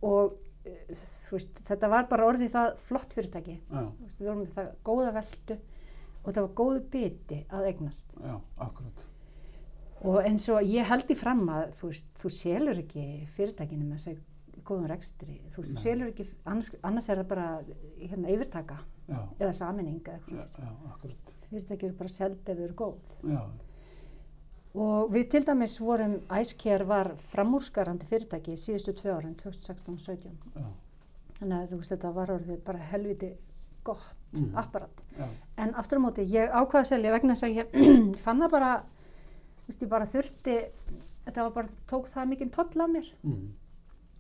Speaker 2: og eh, þú veist, þetta var bara orðið það flott fyrirtæki
Speaker 1: já,
Speaker 2: Þú veist, við vorum með það góða veldu og það var góðu biti að eignast
Speaker 1: já, akkurat,
Speaker 2: og eins og ég held í fram að þú, veist, þú selur ekki fyrirtækinu með þessu góðum rekstri þú, veist, þú
Speaker 1: Nei.
Speaker 2: selur ekki, annars, annars er það bara hérna, yfirtaka
Speaker 1: já,
Speaker 2: eða saminning
Speaker 1: já,
Speaker 2: eða eitthvað svona
Speaker 1: já, akkurat,
Speaker 2: fyrirtæki eru bara seld ef þau eru góð
Speaker 1: já,
Speaker 2: og við til dæmis vorum Æskjær var framúrskarandi fyrirtæki í síðustu tvö árin 2016 og 17
Speaker 1: já,
Speaker 2: þannig að þú veist þetta var orðið bara helviti gott
Speaker 1: mhm,
Speaker 2: apparat
Speaker 1: já,
Speaker 2: En aftur á móti, ég ákvaði að selja vegna þess að ég fann það bara, þú veist, ég bara þurfti, þetta var bara, tók það mikinn toll af mér.
Speaker 1: mhm,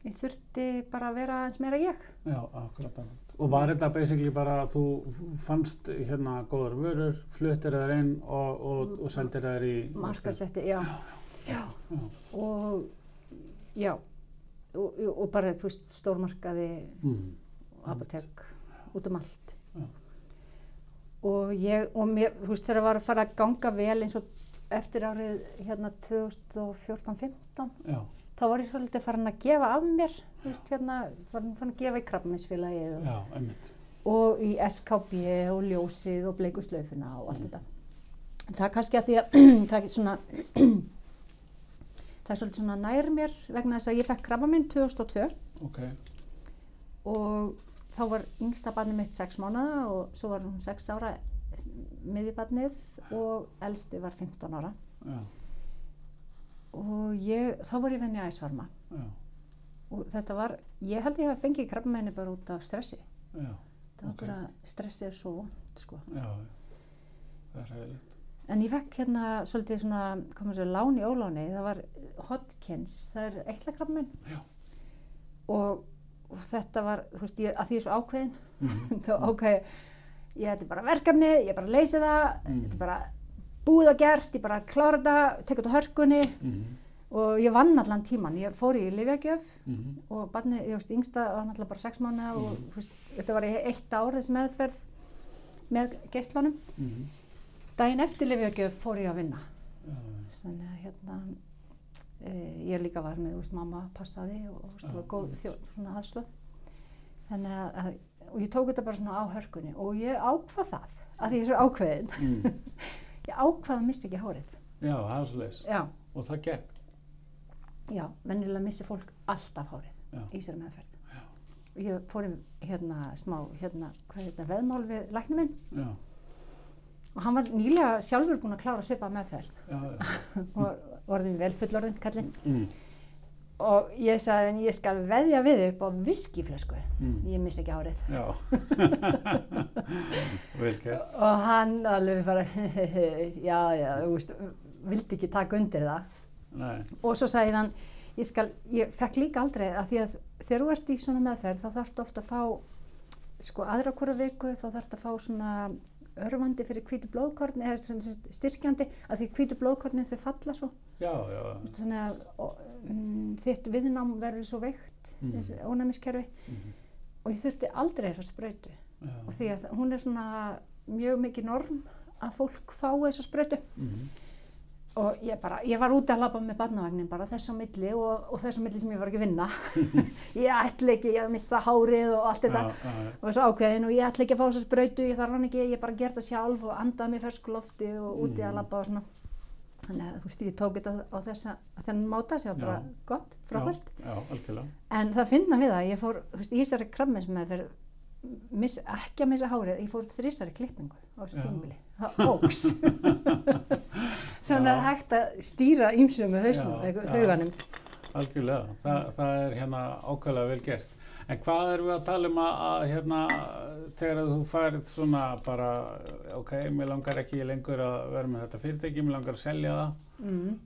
Speaker 2: Ég þurfti bara að vera eins meira ég.
Speaker 1: já, akkurat, akkurat. Og var þetta basically bara að þú fannst hérna góðar vörur, fluttir þær inn og, og, og seldir þær í...
Speaker 2: Markaðsetti, já. Já. Og, já, og, og bara, þú veist, stórmarkaði,
Speaker 1: Mhm,
Speaker 2: apotek, út um allt.
Speaker 1: Já.
Speaker 2: Og ég, og mér, þú veist, þegar var að fara að ganga vel eins og eftir árið, hérna, 2014-15,
Speaker 1: já,
Speaker 2: þá var ég svolítið farin að gefa af mér þú veist, hérna, farin, farin að gefa í krabbaminsfélagið og,
Speaker 1: já, einmitt,
Speaker 2: og í SKB og ljósið og bleikuslaufina og allt þetta En það er kannski að því að það er svona það er svolítið svona nær mér vegna þess að ég fekk krabbaminn 2002
Speaker 1: ok,
Speaker 2: og þá var yngsta barnið mitt 6 mánada og svo var hún 6 ára miðjubarnið og elsti var 15 ára
Speaker 1: já,
Speaker 2: og ég, þá var ég venni að æsvarma
Speaker 1: já,
Speaker 2: og þetta var, ég held ég að fengi krabbamenni bara út af stressi
Speaker 1: já,
Speaker 2: það var
Speaker 1: Ok.
Speaker 2: bara stressið er svo vond sko.
Speaker 1: já, það er hægilegt,
Speaker 2: en ég fekk hérna svolítið svona komið svo láni óláni, það var Hodkins, það er eitla krabbamenn
Speaker 1: Já.
Speaker 2: og, og þetta var, þú veist, ég, að því ég er svo ákveðin
Speaker 1: Mhm.
Speaker 2: þá ákveði ég, ég þetta er bara verkefni, ég bara leysi það
Speaker 1: Mhm.
Speaker 2: þetta er bara búið og gert, ég bara klára þetta tekur þetta á hörkunni
Speaker 1: mhm,
Speaker 2: og ég vann allan tíman, ég fór í Livjagjöf
Speaker 1: mhm,
Speaker 2: og barni, ég veist, yngsta var náttúrulega bara sex mánuða og þú veist, þetta var í eitt ár þess meðferð með geislunum.
Speaker 1: mhm,
Speaker 2: Daginn eftir lifjögjöf fór ég að vinna.
Speaker 1: já,
Speaker 2: Þannig að hérna, e, ég líka var með, þú veist, mamma passaði og þú veist,
Speaker 1: Já,
Speaker 2: það var góð
Speaker 1: einmitt.
Speaker 2: þjóð, svona aðstöð. Þannig að, að, og ég tók þetta bara svona á hörkunni og ég ákvað það að því ég er svo ákveðin.
Speaker 1: Mm.
Speaker 2: Ég ákvað að missa ekki hárið.
Speaker 1: Já, það er svo leiðis.
Speaker 2: Já,
Speaker 1: Og það gekk.
Speaker 2: já, venjulega missi fólk alltaf hárið
Speaker 1: Já.
Speaker 2: í sér meðferð. Og Ég fór í hérna smá, hérna, hvað hérna, veðmál við læknum minn
Speaker 1: Já,
Speaker 2: og hann var nýlega sjálfur búinn að klára svipa meðferð
Speaker 1: já, já.
Speaker 2: og var orðin vel fullorðin kallinn.
Speaker 1: Mm.
Speaker 2: Og ég sagði, en ég skal veðja við upp á viskiflösku.
Speaker 1: Mm.
Speaker 2: Ég missi ekki hárið.
Speaker 1: Já. Vel gert.
Speaker 2: Og hann alveg bara, já, já, þú veist, vildi ekki taka undir það.
Speaker 1: Nei.
Speaker 2: Og svo sagði hann, ég skal, ég fekk líka aldrei að því að þegar þú ert í svona meðferð þá þarftu ofta að fá, sko, aðra hverja viku þá þarftu að fá svona örvandi fyrir hvítu blóðkorni, eða svona sem sagt styrkjandi, að því hvítu blóðkornin þau falla svo.
Speaker 1: Já, já.
Speaker 2: Þannig að og, mm, þitt viðnám verður svo veikt,
Speaker 1: Mhm.
Speaker 2: þessi ónæmiskerfi.
Speaker 1: Mhm.
Speaker 2: Og ég þurfti aldrei þessa sprautu.
Speaker 1: já.
Speaker 2: og því að hún er svona mjög mikið norm að fólk fái þessa sprötu
Speaker 1: Mhm.
Speaker 2: og ég bara, ég var úti að labba með barnavagnin bara þess á milli og, og þess á milli sem ég var ekki að vinna ég ætla ekki, ég að missa hárið og allt þetta
Speaker 1: Já, já, já.
Speaker 2: og svo ákveðin og ég ætla ekki að fá þessa sprautu ég þarf hann ekki, ég bara gert það sjálf og andaði mér fersku lofti og úti
Speaker 1: Mhm.
Speaker 2: að labba og svona þannig að þú veist, ég tók þetta á þessa þennan máta sem var bara
Speaker 1: Já.
Speaker 2: gott, frábært
Speaker 1: Já, já, algjörlega.
Speaker 2: En það finna við það, ég fór, þú veist, í þessari krabbmeinsmeðferð, miss, ekki að missa hárið, ég fór þrísari klippingu á þessu
Speaker 1: Já.
Speaker 2: tímubili. Það óks. Svona
Speaker 1: Já.
Speaker 2: er hægt að stýra ímsum með hausnum,
Speaker 1: Já,
Speaker 2: eitthvað,
Speaker 1: já.
Speaker 2: huganum.
Speaker 1: Algjörlega, Þa, það er hérna ákveðlega vel gert. En hvað erum við að tala um að, að hérna, þegar að þú færið svona bara, ok, mér langar ekki lengur að vera með þetta fyrirtæki, mér langar að selja það,
Speaker 2: Mm.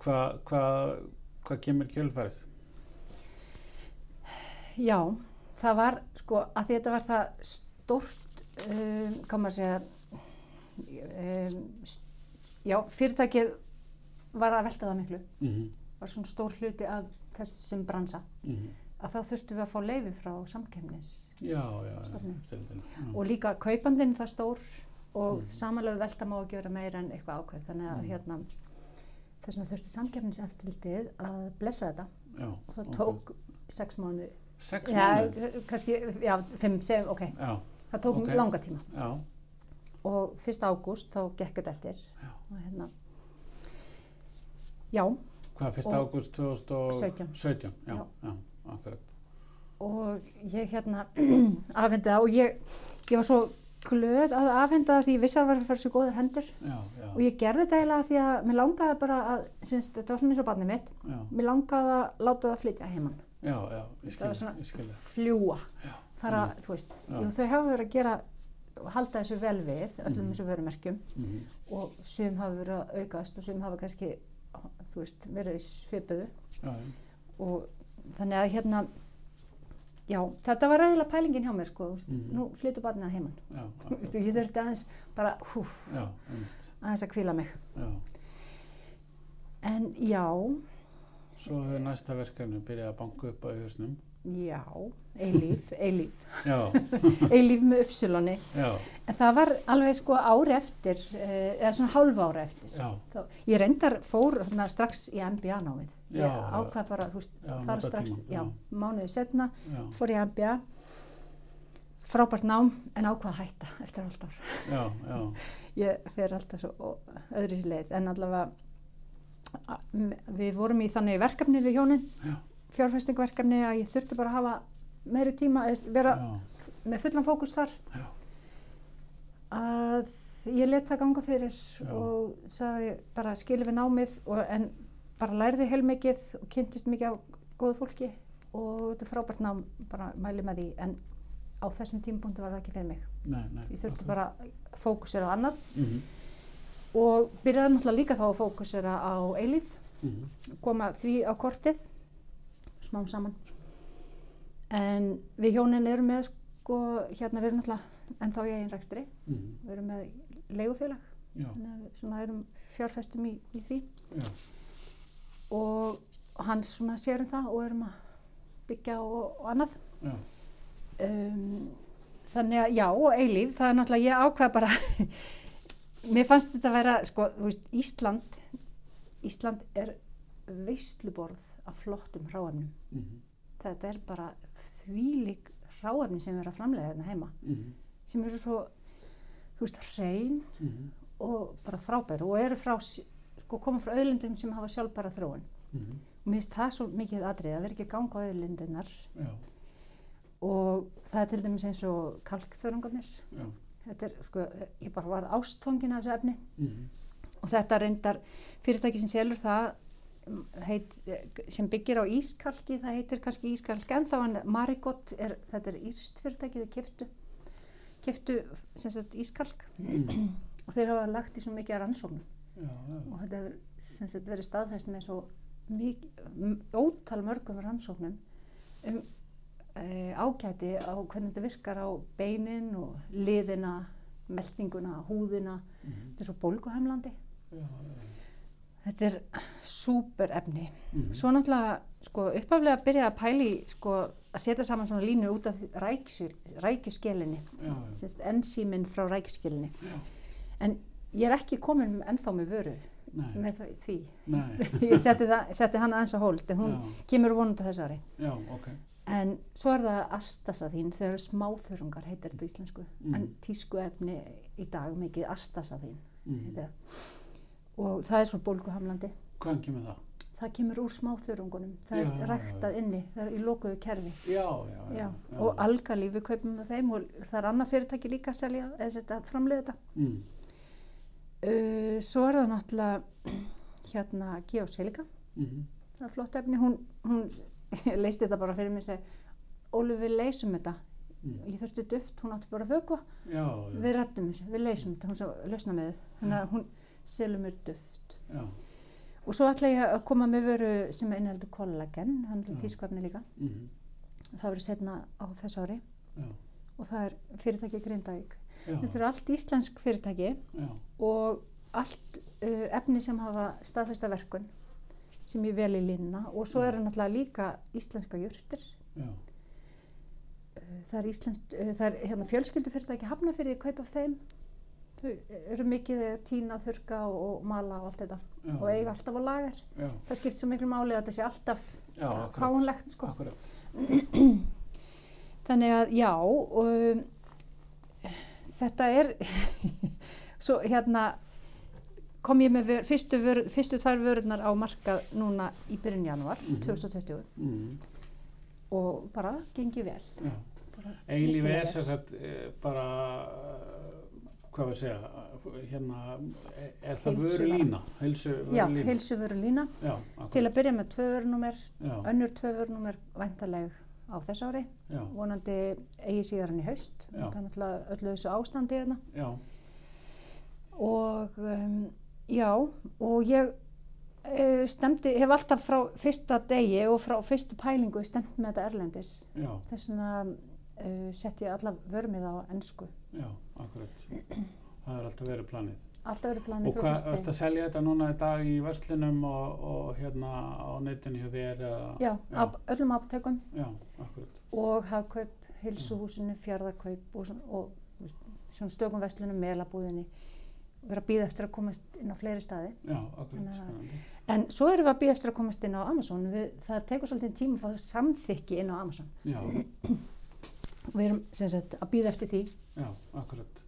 Speaker 1: hvað hva, hva kemur kjölfærið?
Speaker 2: Já, það var, sko, að því þetta var það stórt, um, kann maður segja, um, st- já, fyrirtækið var að velta það miklu,
Speaker 1: Mm -hmm.
Speaker 2: var svona stór hluti af þessum bransa, að þá þurftum við að fá leifi frá samkemnis
Speaker 1: Mhm. Já, já, já,
Speaker 2: Stofnun.
Speaker 1: til þinn.
Speaker 2: og líka kaupandinn það stór og
Speaker 1: Mhm.
Speaker 2: mm. samanlega velta má að gera meira en eitthvað ákveð þannig að
Speaker 1: Mhm.
Speaker 2: hérna þess vegna þurfti samkefniseftilitið að blessa þetta
Speaker 1: Já,
Speaker 2: og það
Speaker 1: ok.
Speaker 2: tók sex mánuði
Speaker 1: Sex mánuð?
Speaker 2: já, kannski, já, fimm, segjum, ok
Speaker 1: Já,
Speaker 2: það tók
Speaker 1: Ok.
Speaker 2: langa tíma
Speaker 1: já,
Speaker 2: og 1. ágúst þá gekk þetta eftir
Speaker 1: Já.
Speaker 2: og hérna já,
Speaker 1: hvað, 1.
Speaker 2: Og-
Speaker 1: ágúst 2017? 17, já, já,
Speaker 2: Já.
Speaker 1: akkurat.
Speaker 2: og ég hérna afhendaði það og ég, ég var svo glöð að afhenda það því ég vissi að það var að fara svo góðar hendur
Speaker 1: Já, já,
Speaker 2: Og ég gerði þetta eiginlega af því að mér langaði bara að, syns, þetta var svona eins og barnið mitt,
Speaker 1: já,
Speaker 2: mér langaði að láta það flytja heimann,
Speaker 1: já, já, ég
Speaker 2: Það var
Speaker 1: skilja,
Speaker 2: svona-
Speaker 1: ég skilja.
Speaker 2: fljúa,
Speaker 1: Já, Mm.
Speaker 2: fara, þú veist,
Speaker 1: Já.
Speaker 2: jú, þau hafa verið að gera, halda þessu vel við, öllum
Speaker 1: Mhm.
Speaker 2: þessu vörumerkjum
Speaker 1: mhm,
Speaker 2: og sum hafa verið að aukast og sum hafa kannski, þú veist, verið í svipuðu
Speaker 1: já, já.
Speaker 2: og þannig að hérna, já, þetta var eiginlega pælingin hjá mér, sko, þú veist,
Speaker 1: Mhm.
Speaker 2: nú flytja barnið að heimann,
Speaker 1: Já,
Speaker 2: þú
Speaker 1: akkurat.
Speaker 2: veist, og ég þurfti aðeins bara, húf,
Speaker 1: já, einmitt,
Speaker 2: aðeins að hvíla mig,
Speaker 1: já.
Speaker 2: en já,
Speaker 1: Svo hefur næsta verkefni byrjað að banka upp á í hausnum.
Speaker 2: Já, eilíf, eilíf,
Speaker 1: Já,
Speaker 2: eilíf með uppsiloni.
Speaker 1: já,
Speaker 2: En það var alveg sko ári eftir, eh, eða svona hálfa ári eftir.
Speaker 1: já,
Speaker 2: Þá, ég reyndar fór þarna strax í MBA námið. Ég
Speaker 1: Já, já.
Speaker 2: ákvað bara, þú veist,
Speaker 1: Já,
Speaker 2: fara
Speaker 1: nota
Speaker 2: strax,
Speaker 1: tímann,
Speaker 2: já,
Speaker 1: já.
Speaker 2: mánuði setna,
Speaker 1: já,
Speaker 2: fór í MBA, frábært nám, en ákvað að hætta eftir hálft ár.
Speaker 1: já, já,
Speaker 2: Ég fer alltaf svo ó- öðru sér leið, en allavega, a- m- við vorum í þannig verkefni við hjónin,
Speaker 1: Já.
Speaker 2: fjárfestingverkefni, að ég þurfti bara að hafa meiri tíma, eða þú veist, vera
Speaker 1: já,
Speaker 2: með fullan fókus þar
Speaker 1: Já.
Speaker 2: að ég let það ganga fyrir
Speaker 1: Já.
Speaker 2: og sagði bara skilum við námið og, en bara lærði heilmikið og kynntist mikið af góðu fólki og þetta er frábært nám, bara mæli með því en á þessum tímapunktu var það ekki fyrir mig
Speaker 1: nei, nei.
Speaker 2: ég þurfti bara að fókusera á annað
Speaker 1: Mhm,
Speaker 2: og byrjaði náttúrulega líka þá að fókusera á eilíf
Speaker 1: mhm,
Speaker 2: koma því á kortið smám saman en við hjónin erum með sko, hérna við erum náttúrulega en þá ég einn rekstri,
Speaker 1: mhm,
Speaker 2: við erum með leigufélag,
Speaker 1: já,
Speaker 2: þannig að við svona erum fjárfestum í, í því
Speaker 1: já,
Speaker 2: og hann svona sér um það og erum að byggja og, og annað
Speaker 1: já,
Speaker 2: um, þannig að já, og eilíf það er náttúrulega, ég ákvað bara mér fannst þetta að vera sko, þú veist, Ísland Ísland er veisluborð af flottum hráefnum
Speaker 1: mhm,
Speaker 2: þetta er bara þvílík ráefni sem er að framlega hérna heima
Speaker 1: mhm,
Speaker 2: sem eru svo þú veist, hrein
Speaker 1: mhm,
Speaker 2: og bara frábær og eru frá, s- sko, koma frá auðlindum sem hafa sjálfbæra þróun.
Speaker 1: mhm,
Speaker 2: Og mér finnst það svo mikið atrið að vera ekki að ganga á auðlindinar
Speaker 1: já,
Speaker 2: og það er til dæmis eins og kalkþörungarnir.
Speaker 1: já,
Speaker 2: Þetta er, sko, ég bara var ástfangin af þessu efni
Speaker 1: mhm,
Speaker 2: og þetta reyndar fyrirtæki sem selur það mm, heit, sem byggir á ískalki, það heitir kannski ískalki en þá en Marigott, er, þetta er írst fyrirtæki, þeir keftu, keftu sem sagt ískalk
Speaker 1: mhm,
Speaker 2: og þeir hafa lagt í svo mikið af rannsóknum
Speaker 1: já, já,
Speaker 2: og þetta hefur sem sagt verið staðfest með svo mikið, m- ótal mörgum rannsóknum um e, ágæti á hvernig þetta virkar á beinin og liðina, meltinguna, húðina,
Speaker 1: mhm,
Speaker 2: þetta er svo bólguhemlandi
Speaker 1: já, já,
Speaker 2: Þetta er súper efni.
Speaker 1: mhm,
Speaker 2: Svo náttúrulega, sko, uppaflega byrjaði að pæli, sko, að setja saman svona línu út af rækjur, rækjuskelinni,
Speaker 1: já, já,
Speaker 2: semst ensíminn frá rækjuskelinni.
Speaker 1: Já.
Speaker 2: En ég er ekki komin ennþá með vöru
Speaker 1: nei,
Speaker 2: með þau- því.
Speaker 1: nei,
Speaker 2: Ég setti, það, setti hana aðeins á hold, en hún
Speaker 1: já,
Speaker 2: kemur vonandi á þessari.
Speaker 1: já, ok,
Speaker 2: En svo er það astasa þín, þeir eru smáþörungar, heitir þetta á íslensku.
Speaker 1: Mhm.
Speaker 2: En tísku efni í dag mikið astasa þín,
Speaker 1: mhm,
Speaker 2: heitir það. Og það er svo bólguhamlandi.
Speaker 1: hvaðan kemur það?
Speaker 2: Það kemur úr smáþörungunum, það
Speaker 1: Já, já,
Speaker 2: er ræktað inni, það er í lokuðu kerfi.
Speaker 1: Já, já, já,
Speaker 2: Já.
Speaker 1: já,
Speaker 2: Og algalíf við kaupum með þeim og það er annað fyrirtæki líka að selja, eða þetta framleiða þetta.
Speaker 1: mhm,
Speaker 2: Uh, svo er það náttúrulega hérna Geos Helga,
Speaker 1: mhm,
Speaker 2: það er flott efni, hún, hún leist þetta bara fyrir mig og segi, Ólu við leysum þetta,
Speaker 1: mhm,
Speaker 2: ég þurfti duft, hún átti bara að vökva,
Speaker 1: já, já,
Speaker 2: við rættum þessu, við leysum þetta, hún svo lausna með þið, þannig að hún selur mér duft.
Speaker 1: já,
Speaker 2: Og svo ætla ég að koma með vöru sem innhaldur kollagen, hann er
Speaker 1: Já.
Speaker 2: tískvefni líka.
Speaker 1: mhm,
Speaker 2: það verið setna á þessu ári
Speaker 1: já,
Speaker 2: og það er fyrirtæki Grindavík.
Speaker 1: já,
Speaker 2: Þetta eru allt íslensk fyrirtæki
Speaker 1: já,
Speaker 2: og allt uh, efni sem hafa staðfesta verkun sem ég vel í línuna og svo eru náttúrulega líka íslenska jurtir.
Speaker 1: já,
Speaker 2: Uh, það er, íslenskt, uh, það er hérna, fjölskyldu fyrirtæki hafnafyrði að kaupa af þeim. Þau eru mikið að tína, þurka og, og mala og allt þetta
Speaker 1: já,
Speaker 2: og eiga alltaf á lager.
Speaker 1: já,
Speaker 2: Það skipt svo miklu máli að þetta sé alltaf
Speaker 1: já, akkurat,
Speaker 2: fáanlegt sko.
Speaker 1: akkurat,
Speaker 2: Þannig að já, um, þetta er, svo hérna kom ég með vör, fyrstu, vör, fyrstu tvær vörurnar á markað núna í byrjun janúar
Speaker 1: Mhm.
Speaker 2: 2020
Speaker 1: mhm.
Speaker 2: og bara gengi vel.
Speaker 1: Já.
Speaker 2: Bara
Speaker 1: Eilífi
Speaker 2: virkilega
Speaker 1: er
Speaker 2: vel.
Speaker 1: sem sagt eh, bara, eh, hvað var að segja, eh, hérna, eh, er það
Speaker 2: Heilsu-
Speaker 1: vöru lína, heilsu
Speaker 2: Já,
Speaker 1: vöru lína?
Speaker 2: heilsu vöru lína.
Speaker 1: Já, akkurat.
Speaker 2: Til að byrja með tvö vörunúmer,
Speaker 1: Já,
Speaker 2: önnur tvö vörunúmer væntaleg á þess ári,
Speaker 1: já,
Speaker 2: vonandi eigi síðar hann í haust,
Speaker 1: Já.
Speaker 2: þannig að öllu þessu ástandi hérna.
Speaker 1: já,
Speaker 2: og um, já og ég uh, stemdi, hef alltaf frá fyrsta degi og frá fyrstu pælingu stemt með þetta erlendis
Speaker 1: já,
Speaker 2: þess vegna uh, sett ég alla vörmið á ennsku
Speaker 1: já, akkurat. Það er alltaf verið planið.
Speaker 2: alltaf verið
Speaker 1: Og
Speaker 2: planið
Speaker 1: hvað, ertu að selja þetta núna í dag í verslunum og, og hérna á netinu hjá þér eða?
Speaker 2: já,
Speaker 1: já.
Speaker 2: já. öllum apotekum
Speaker 1: Já, akkurat.
Speaker 2: og hagkaup, hilsuhúsinu, fjarðakaup og, svona- og þú veist, svona stökum vestlunum melabúðinni vera að býða eftir að komast inn á fleiri staði
Speaker 1: Já, akkurat,
Speaker 2: Þannig að-
Speaker 1: spennandi.
Speaker 2: en svo erum við að býða eftir að komast inn á Amazon við, það tekur svolítið tíma að fá samþykki inn á Amazon
Speaker 1: Já,
Speaker 2: Við erum sem sagt að býða eftir því.
Speaker 1: já, akkurat.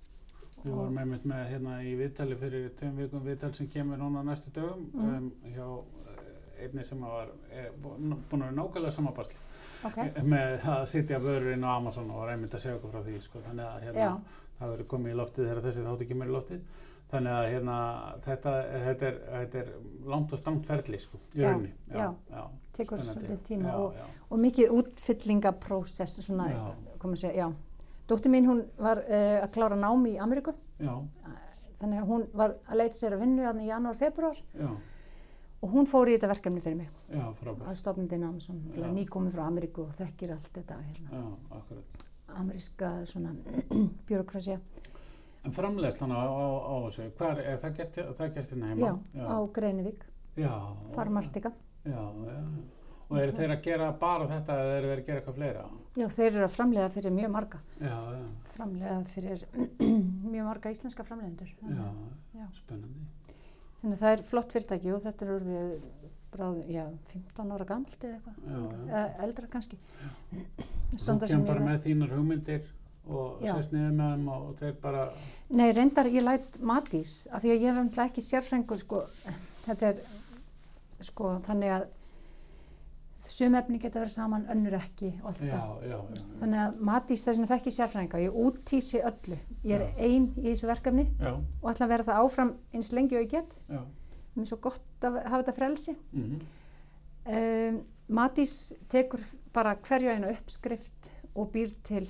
Speaker 1: Við
Speaker 2: Og-
Speaker 1: vorum einmitt með hérna í viðtali fyrir tveim vikum viðtal sem kemur núna á næstu dögum
Speaker 2: Mhm.
Speaker 1: um, hjá eh, einni sem að var er búin búin að vera nákvæmlega samabasl
Speaker 2: Ok.
Speaker 1: með að sitja vörurinn á Amazon og var einmitt að segja okkur frá því sko. þannig að
Speaker 2: Já.
Speaker 1: hérna, það verður komið í loftið þegar þessi þátt ekki mér í loftið þannig að hérna, þetta, þetta, er, þetta er langt og strangt ferli sko, í
Speaker 2: Já,
Speaker 1: rauninni
Speaker 2: já.
Speaker 1: já,
Speaker 2: Tekur
Speaker 1: spennandi.
Speaker 2: svolítið tíma
Speaker 1: já,
Speaker 2: og-
Speaker 1: já,
Speaker 2: Og mikið útfyllingaprósess, svona,
Speaker 1: Já.
Speaker 2: komum að segja, já. Dóttir mín, hún var uh, að klára nám í Ameríku,
Speaker 1: já,
Speaker 2: þannig að hún var að leita sér að vinnu hann í janúar, februar
Speaker 1: já,
Speaker 2: og hún fór í þetta verkefni fyrir mig
Speaker 1: já, frábært
Speaker 2: að stofnandi Amazon, til
Speaker 1: Já.
Speaker 2: að nýkomin frá Ameríku og þekkir allt þetta, hérna,
Speaker 1: já, akkurat
Speaker 2: ameríska svona björokrasja,
Speaker 1: en framleiðslan á, á, á þessu hvar er það gert, það er gert hérna heima
Speaker 2: já, á Greinivík,
Speaker 1: já,
Speaker 2: Farmartika.
Speaker 1: já, já. og eru þeir að gera bara þetta eða eru þeir að gera eitthvað fleira
Speaker 2: Já, þeir eru að framlega fyrir mjög marga,
Speaker 1: já, já,
Speaker 2: framlega fyrir mjög marga íslenska framlegendur.
Speaker 1: já,
Speaker 2: Já.
Speaker 1: spennandi
Speaker 2: Þannig að það er flott fyrirtæki og þetta er orðið bráð, já, 15 ára gamalt eða eitthvað,
Speaker 1: já, já.
Speaker 2: eða eldra kannski.
Speaker 1: Þú
Speaker 2: Standa sem
Speaker 1: kemur
Speaker 2: ég
Speaker 1: bara
Speaker 2: var.
Speaker 1: með þínar hugmyndir og
Speaker 2: Já.
Speaker 1: sérst niður með þeim og, og þeir bara,
Speaker 2: Nei, reyndar ég læt matís af því að ég er náttúrulega ekki sérfrængur sko, þetta er sko, þannig að sum efni geta verið saman, önnur ekki og allt
Speaker 1: já,
Speaker 2: það.
Speaker 1: já, já,
Speaker 2: Þannig að matís þess vegna fekk ég sérfrænga, ég útísi öllu. Ég er
Speaker 1: Já.
Speaker 2: ein í þessu verkefni
Speaker 1: já,
Speaker 2: og ætla að vera það áfram eins lengi og ég get.
Speaker 1: já,
Speaker 2: Mér er svo gott að hafa þetta frelsi.
Speaker 1: mhm,
Speaker 2: Um, matís tekur bara hverju eina uppskrift og býr til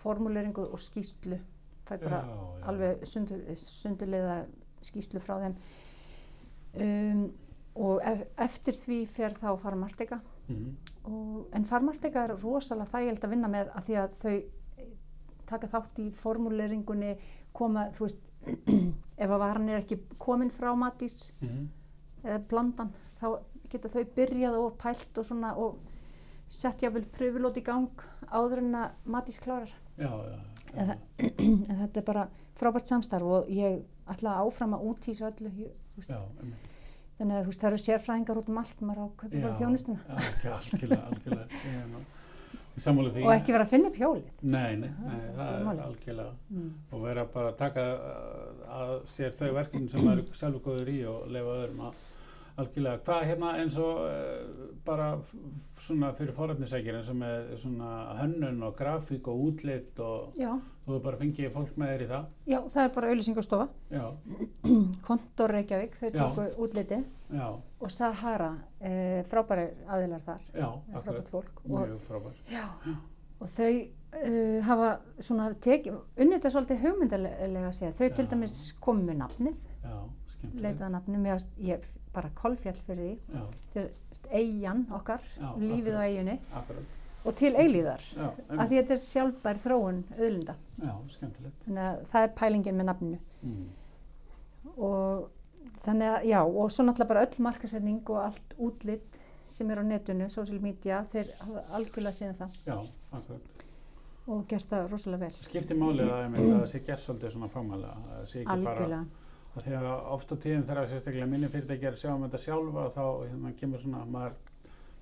Speaker 2: formuleringu og skýslu. Það er bara
Speaker 1: já, já,
Speaker 2: alveg sundur, sundurleiða skýslu frá þeim um, og ef, eftir því fer þá farmartega
Speaker 1: mhm,
Speaker 2: og, en farmartega er rosalega þægild að vinna með að því að þau taka þátt í formuleringunni koma, þú veist ef að varan er ekki komin frá matís
Speaker 1: mhm,
Speaker 2: eða blandan þá geta þau byrjað og pælt og svona og sett jáfnvel pröfulót í gang áður en að matís klárar
Speaker 1: já, já, já,
Speaker 2: Eða- en þetta er bara frábært samstarf og ég ætla áfram að útýsa öllu ég, þú veist,
Speaker 1: já, einmitt.
Speaker 2: þannig að þú veist, það eru sérfræðingar út um allt maður á að kaupa bara þjónustuna
Speaker 1: Já, ekki, algjörlega, algjörlega. Ég er nú- Ég sammála því.
Speaker 2: og ekki vera að finna upp hjólið
Speaker 1: Nei, nei, nei,
Speaker 2: Það er
Speaker 1: það er
Speaker 2: málið.
Speaker 1: algjörlega.
Speaker 2: mm.
Speaker 1: Og vera bara að taka uh, að sér þau verkefni sem maður er sjálfur góður í og leifa öðrum að algjörlega. Hvað hérna eins og uh, bara f- svona fyrir forrætnisækir eins og með svona hönnun og grafík og útlit og
Speaker 2: já,
Speaker 1: þú hefur bara fengið fólk með þér í það.
Speaker 2: já, það er bara auðlýsingastofa
Speaker 1: Já,
Speaker 2: Kontor Reykjavík, þau
Speaker 1: Já.
Speaker 2: tóku útlitið
Speaker 1: já,
Speaker 2: og Sahara, e, frábæri aðilar þar eh,
Speaker 1: já,
Speaker 2: frábært
Speaker 1: akkurat.
Speaker 2: fólk og,
Speaker 1: Mjög frábær.
Speaker 2: já, og þau uh, hafa svona tekið, unnið þetta svolítið hugmyndalega séð, þau til
Speaker 1: Já.
Speaker 2: dæmis komu með nafnið,
Speaker 1: Já, skemmtilegt.
Speaker 2: leitaðu að nafnið, mér fannst- ég bara kolfjall fyrir því
Speaker 1: Já,
Speaker 2: eigjan okkar,
Speaker 1: Já,
Speaker 2: lífið á
Speaker 1: akkurat.
Speaker 2: eigjunni
Speaker 1: akkurat.
Speaker 2: og til eilíðar
Speaker 1: Já,
Speaker 2: af
Speaker 1: einmitt.
Speaker 2: því þetta er sjálfbær þróun auðlinda
Speaker 1: já skemmtilegt.
Speaker 2: þannig að það er pælingin með nafninu
Speaker 1: Mm.
Speaker 2: og þannig að já og svo náttúrulega bara öll markasetning og allt útlitt sem er á netinu, social media þeir hafa algjörlega síðan það
Speaker 1: Já, akkurat.
Speaker 2: og gert það rosalega vel
Speaker 1: skiptir máli það einmitt að það sé gert svolítið svona framhæðlega að það sé ekki
Speaker 2: algjörlega,
Speaker 1: bara að því að ofta tíðum þegar sérstaklega minni fyrirtæki er að sjá um þetta sjálfa þá hérna kemur svona maður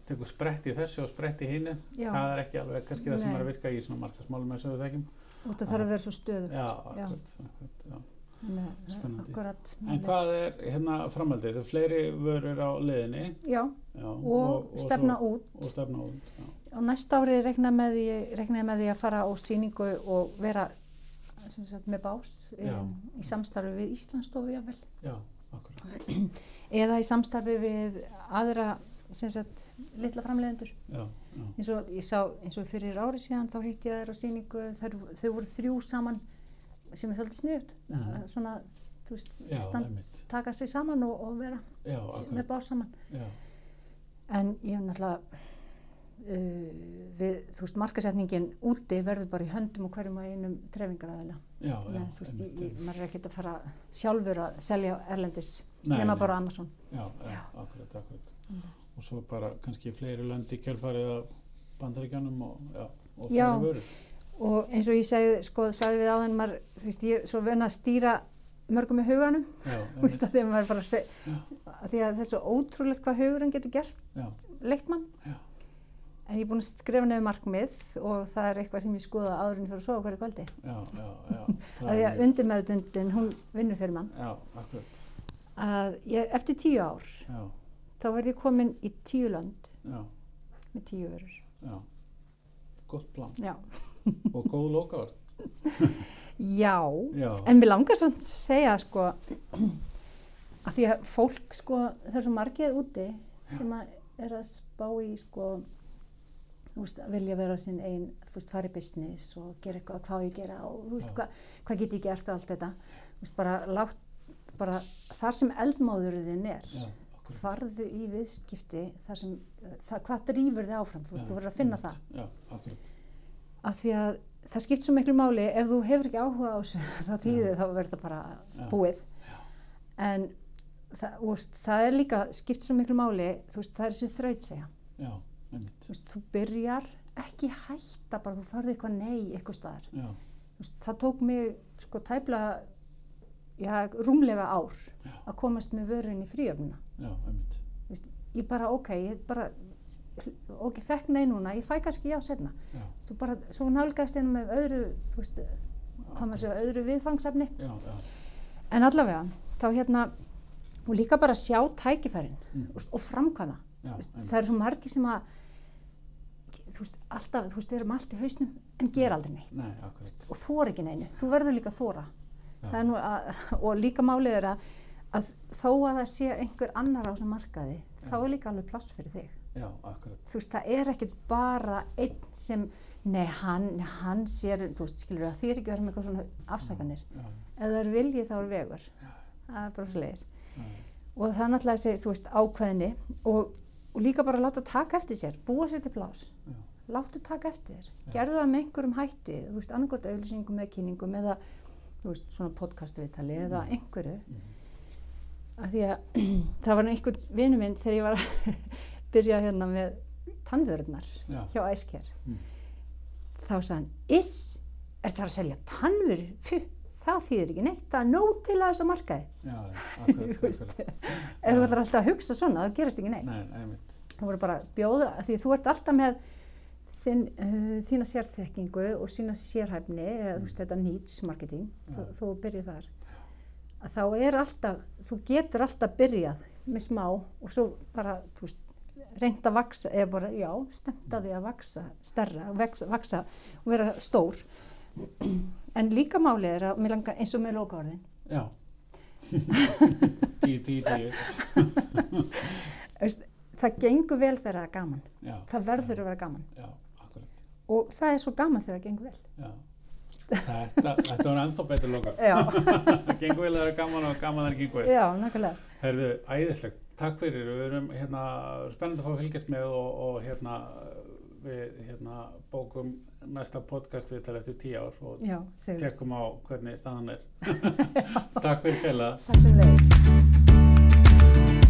Speaker 1: tekur sprett í þessu og sprett í hinu
Speaker 2: já
Speaker 1: það er ekki alveg kannski það sem
Speaker 2: Nei.
Speaker 1: er að virka í svona markasmálum eins og við þekkjum
Speaker 2: og það þarf að vera svo stöðu
Speaker 1: já, akkurat, akkurat já. Spennandi.
Speaker 2: akkurat
Speaker 1: en hvað er hérna framhaldið það er fleiri vörur á leiðinni
Speaker 2: já,
Speaker 1: já,
Speaker 2: og, stefna
Speaker 1: svo,
Speaker 2: út
Speaker 1: og stefna út já,
Speaker 2: á næsta ári rekna með, því- reikna ég með því að fara á sýningu og vera sem sagt, með bás
Speaker 1: Já.
Speaker 2: um, í samstarfi við Íslandsstofu jafnvel,
Speaker 1: já, akkurat
Speaker 2: eða í samstarfi við aðra sem sagt, litla framleiðendur
Speaker 1: já, já,
Speaker 2: eins og ég sá eins og fyrir ári síðan þá hitti ég þær á sýningu þær, þau voru þrjú saman sem er svolítið sniðut
Speaker 1: Mhm.
Speaker 2: svona þú veist,
Speaker 1: já,
Speaker 2: stand,
Speaker 1: einmitt
Speaker 2: taka sig saman og, og vera
Speaker 1: já,
Speaker 2: með
Speaker 1: akkurat,
Speaker 2: bás saman
Speaker 1: já,
Speaker 2: En ég hef náttúrulega, uh, við, þú veist, markasetningin úti verður bara í höndum og hverjum og einum trefingaraðila.
Speaker 1: já, já,
Speaker 2: Þannig að, þú veist,
Speaker 1: einmitt,
Speaker 2: ég, ég,
Speaker 1: einmitt.
Speaker 2: maður er ekkert að fara sjálfur að selja erlendis,
Speaker 1: Nei,
Speaker 2: nema
Speaker 1: nei.
Speaker 2: bara á Amazon.
Speaker 1: Já, já,
Speaker 2: Já.
Speaker 1: akkurat, akkurat.
Speaker 2: Mm.
Speaker 1: Og svo bara kannski fleiri lönd í kjölfarið af bandaríkjanum og, já, og
Speaker 2: Já.
Speaker 1: fleiri vörur.
Speaker 2: Og eins og ég segði, sko, sagði við áðan, maður, þú veist, ég er svo vön að stýra mörgum með huganum,
Speaker 1: Já,
Speaker 2: þú veist, að því að maður bara, se-
Speaker 1: Já.
Speaker 2: að því að það er svo ótrúlegt hvað hugurinn getur gert,
Speaker 1: já,
Speaker 2: leitt mann.
Speaker 1: Já.
Speaker 2: En ég er búin að skrifa nefnir markmið og það er eitthvað sem ég skoða áðurinn fyrir að sofa hverju kvöldi.
Speaker 1: já, já, já. það
Speaker 2: Það er því að
Speaker 1: mjög-
Speaker 2: undirmeðutundin, hún vinnur fyrir mann.
Speaker 1: Já, akkurat,
Speaker 2: að ég, eftir tíu ár
Speaker 1: já,
Speaker 2: þá verð ég komin í tíu lönd
Speaker 1: já,
Speaker 2: með tíu örur.
Speaker 1: já. Gott plan
Speaker 2: Já.
Speaker 1: og góð lókaverð.
Speaker 2: Já,
Speaker 1: Já,
Speaker 2: en mér langar svona að segja sko að því að fólk sko, það er svo margir úti sem að er að spá í sko þú veist, að vilja vera sinn einn, þú veist, fara í business og gera eitthvað, hvað á ég að gera og þú veist,
Speaker 1: Já.
Speaker 2: hvað, hvað get ég gert og allt þetta þú veist, bara látt, bara þar sem eldmáðurðin er
Speaker 1: já, akkurat.
Speaker 2: farðu í viðskipti þar sem, það, hvað drýfur þið áfram þú veist, þú verður að finna það
Speaker 1: Já, akkurat,
Speaker 2: af því að það skipt svo miklu máli ef þú hefur ekki áhuga á þessu þá þýðir þá verður það bara
Speaker 1: Já.
Speaker 2: búið en það, þú veist, það er líka skipt svo miklu máli þú veist, það er þessi þraut segja
Speaker 1: já, einmitt,
Speaker 2: þú, veist, þú byrjar ekki hætta bara þú farði eitthvað nei eitthvað staðar
Speaker 1: já,
Speaker 2: Þú veist, það tók mig sko tæpla já, rúmlega ár
Speaker 1: Já.
Speaker 2: að komast með vörun í fríöfnuna
Speaker 1: já, einmitt.
Speaker 2: ég bara ok, ég bara og ekki fekk nei núna, ég fæ kannski já setna
Speaker 1: já,
Speaker 2: þú bara, svo nálgast þeim með öðru þú veist, hvað maður segja, öðru viðfangsefni
Speaker 1: já, já,
Speaker 2: en allavega, þá hérna og líka bara sjá tækifærin
Speaker 1: Mm.
Speaker 2: og, og framkvæma
Speaker 1: já,
Speaker 2: Þú veist,
Speaker 1: einmitt.
Speaker 2: það eru svo margi sem að þú veist, alltaf, þú veist, við erum allt í hausnum en gera aldrei neitt
Speaker 1: Nei, akkurat.
Speaker 2: og þóra ekki neinu, þú verður líka að þóra
Speaker 1: Já.
Speaker 2: Það er nú að, og líka málið er að, að þó að það sé einhver annar á þessum markaði þá
Speaker 1: Já.
Speaker 2: er líka alveg pláss fyrir þig
Speaker 1: Já, akkurat.
Speaker 2: þú veist, það er ekkert bara einn sem, nei hann, hann sér, þú veist, skilur það, því er ekki verið með eitthvað svona afsakanir
Speaker 1: Já,
Speaker 2: ef það er viljið þá er vegur
Speaker 1: Já.
Speaker 2: það er bara svo leiðis
Speaker 1: já,
Speaker 2: og það er náttúrulega þessi, þú veist, ákveðni og, og líka bara láta taka eftir sér búa sér til plás
Speaker 1: Já.
Speaker 2: láttu taka eftir þér,
Speaker 1: Já.
Speaker 2: gerðu það með einhverjum hætti þú veist, annarkort auðlýsingum eða kynningum eða, þú veist, svona podcastviðtali eða einhverju
Speaker 1: mhm.
Speaker 2: af því að það var nú einhvern vinnu minn þegar ég var að byrja hérna með tannvörðnar
Speaker 1: já,
Speaker 2: hjá æsker
Speaker 1: Mm.
Speaker 2: þá sagði hann iss, er það að selja tannvör Fuh, það þýðir ekki neitt það er nóg til að þessu markaði
Speaker 1: já, já, akkurat,
Speaker 2: Þú veist,
Speaker 1: akkurat.
Speaker 2: ef þú ætlar alltaf að hugsa svona það gerist ekki neitt
Speaker 1: Nei, einmitt.
Speaker 2: þú voru bara að bjóða af því þú ert alltaf með þinn, uh, þína sérþekkingu og sína sérhæfni eða þú veist þetta needs marketing þú,
Speaker 1: Já.
Speaker 2: þú byrjið þar að þá er alltaf, þú getur alltaf byrjað með smá og svo bara þú veist reynd að vaksa, eða bara, já, stemta því að vaksa stærra, vaksa, vaksa og vera stór en líka málið er að, mig langar, eins og með lokaorðin
Speaker 1: Já. Tíu, tíu, tíu.
Speaker 2: þú veist, það gengur vel þegar það er gaman
Speaker 1: Já,
Speaker 2: það verður að vera gaman
Speaker 1: já, akkurat.
Speaker 2: og það er svo gaman þegar það gengur vel
Speaker 1: Já. Þetta, þetta var ennþá betur loka.
Speaker 2: já,
Speaker 1: Það gengur vel að vera gaman og gaman að það gengur vel.
Speaker 2: já, nákvæmlega
Speaker 1: Herðu, æðislegt. Takk fyrir. Við erum hérna, spennandi að fá að fylgjast með og, og hérna, við hérna, bókum næsta podcast við tala eftir tíu ár og
Speaker 2: já, segðu,
Speaker 1: tekkum á hvernig staðan er. Takk fyrir fjöla.
Speaker 2: takk sem leiðis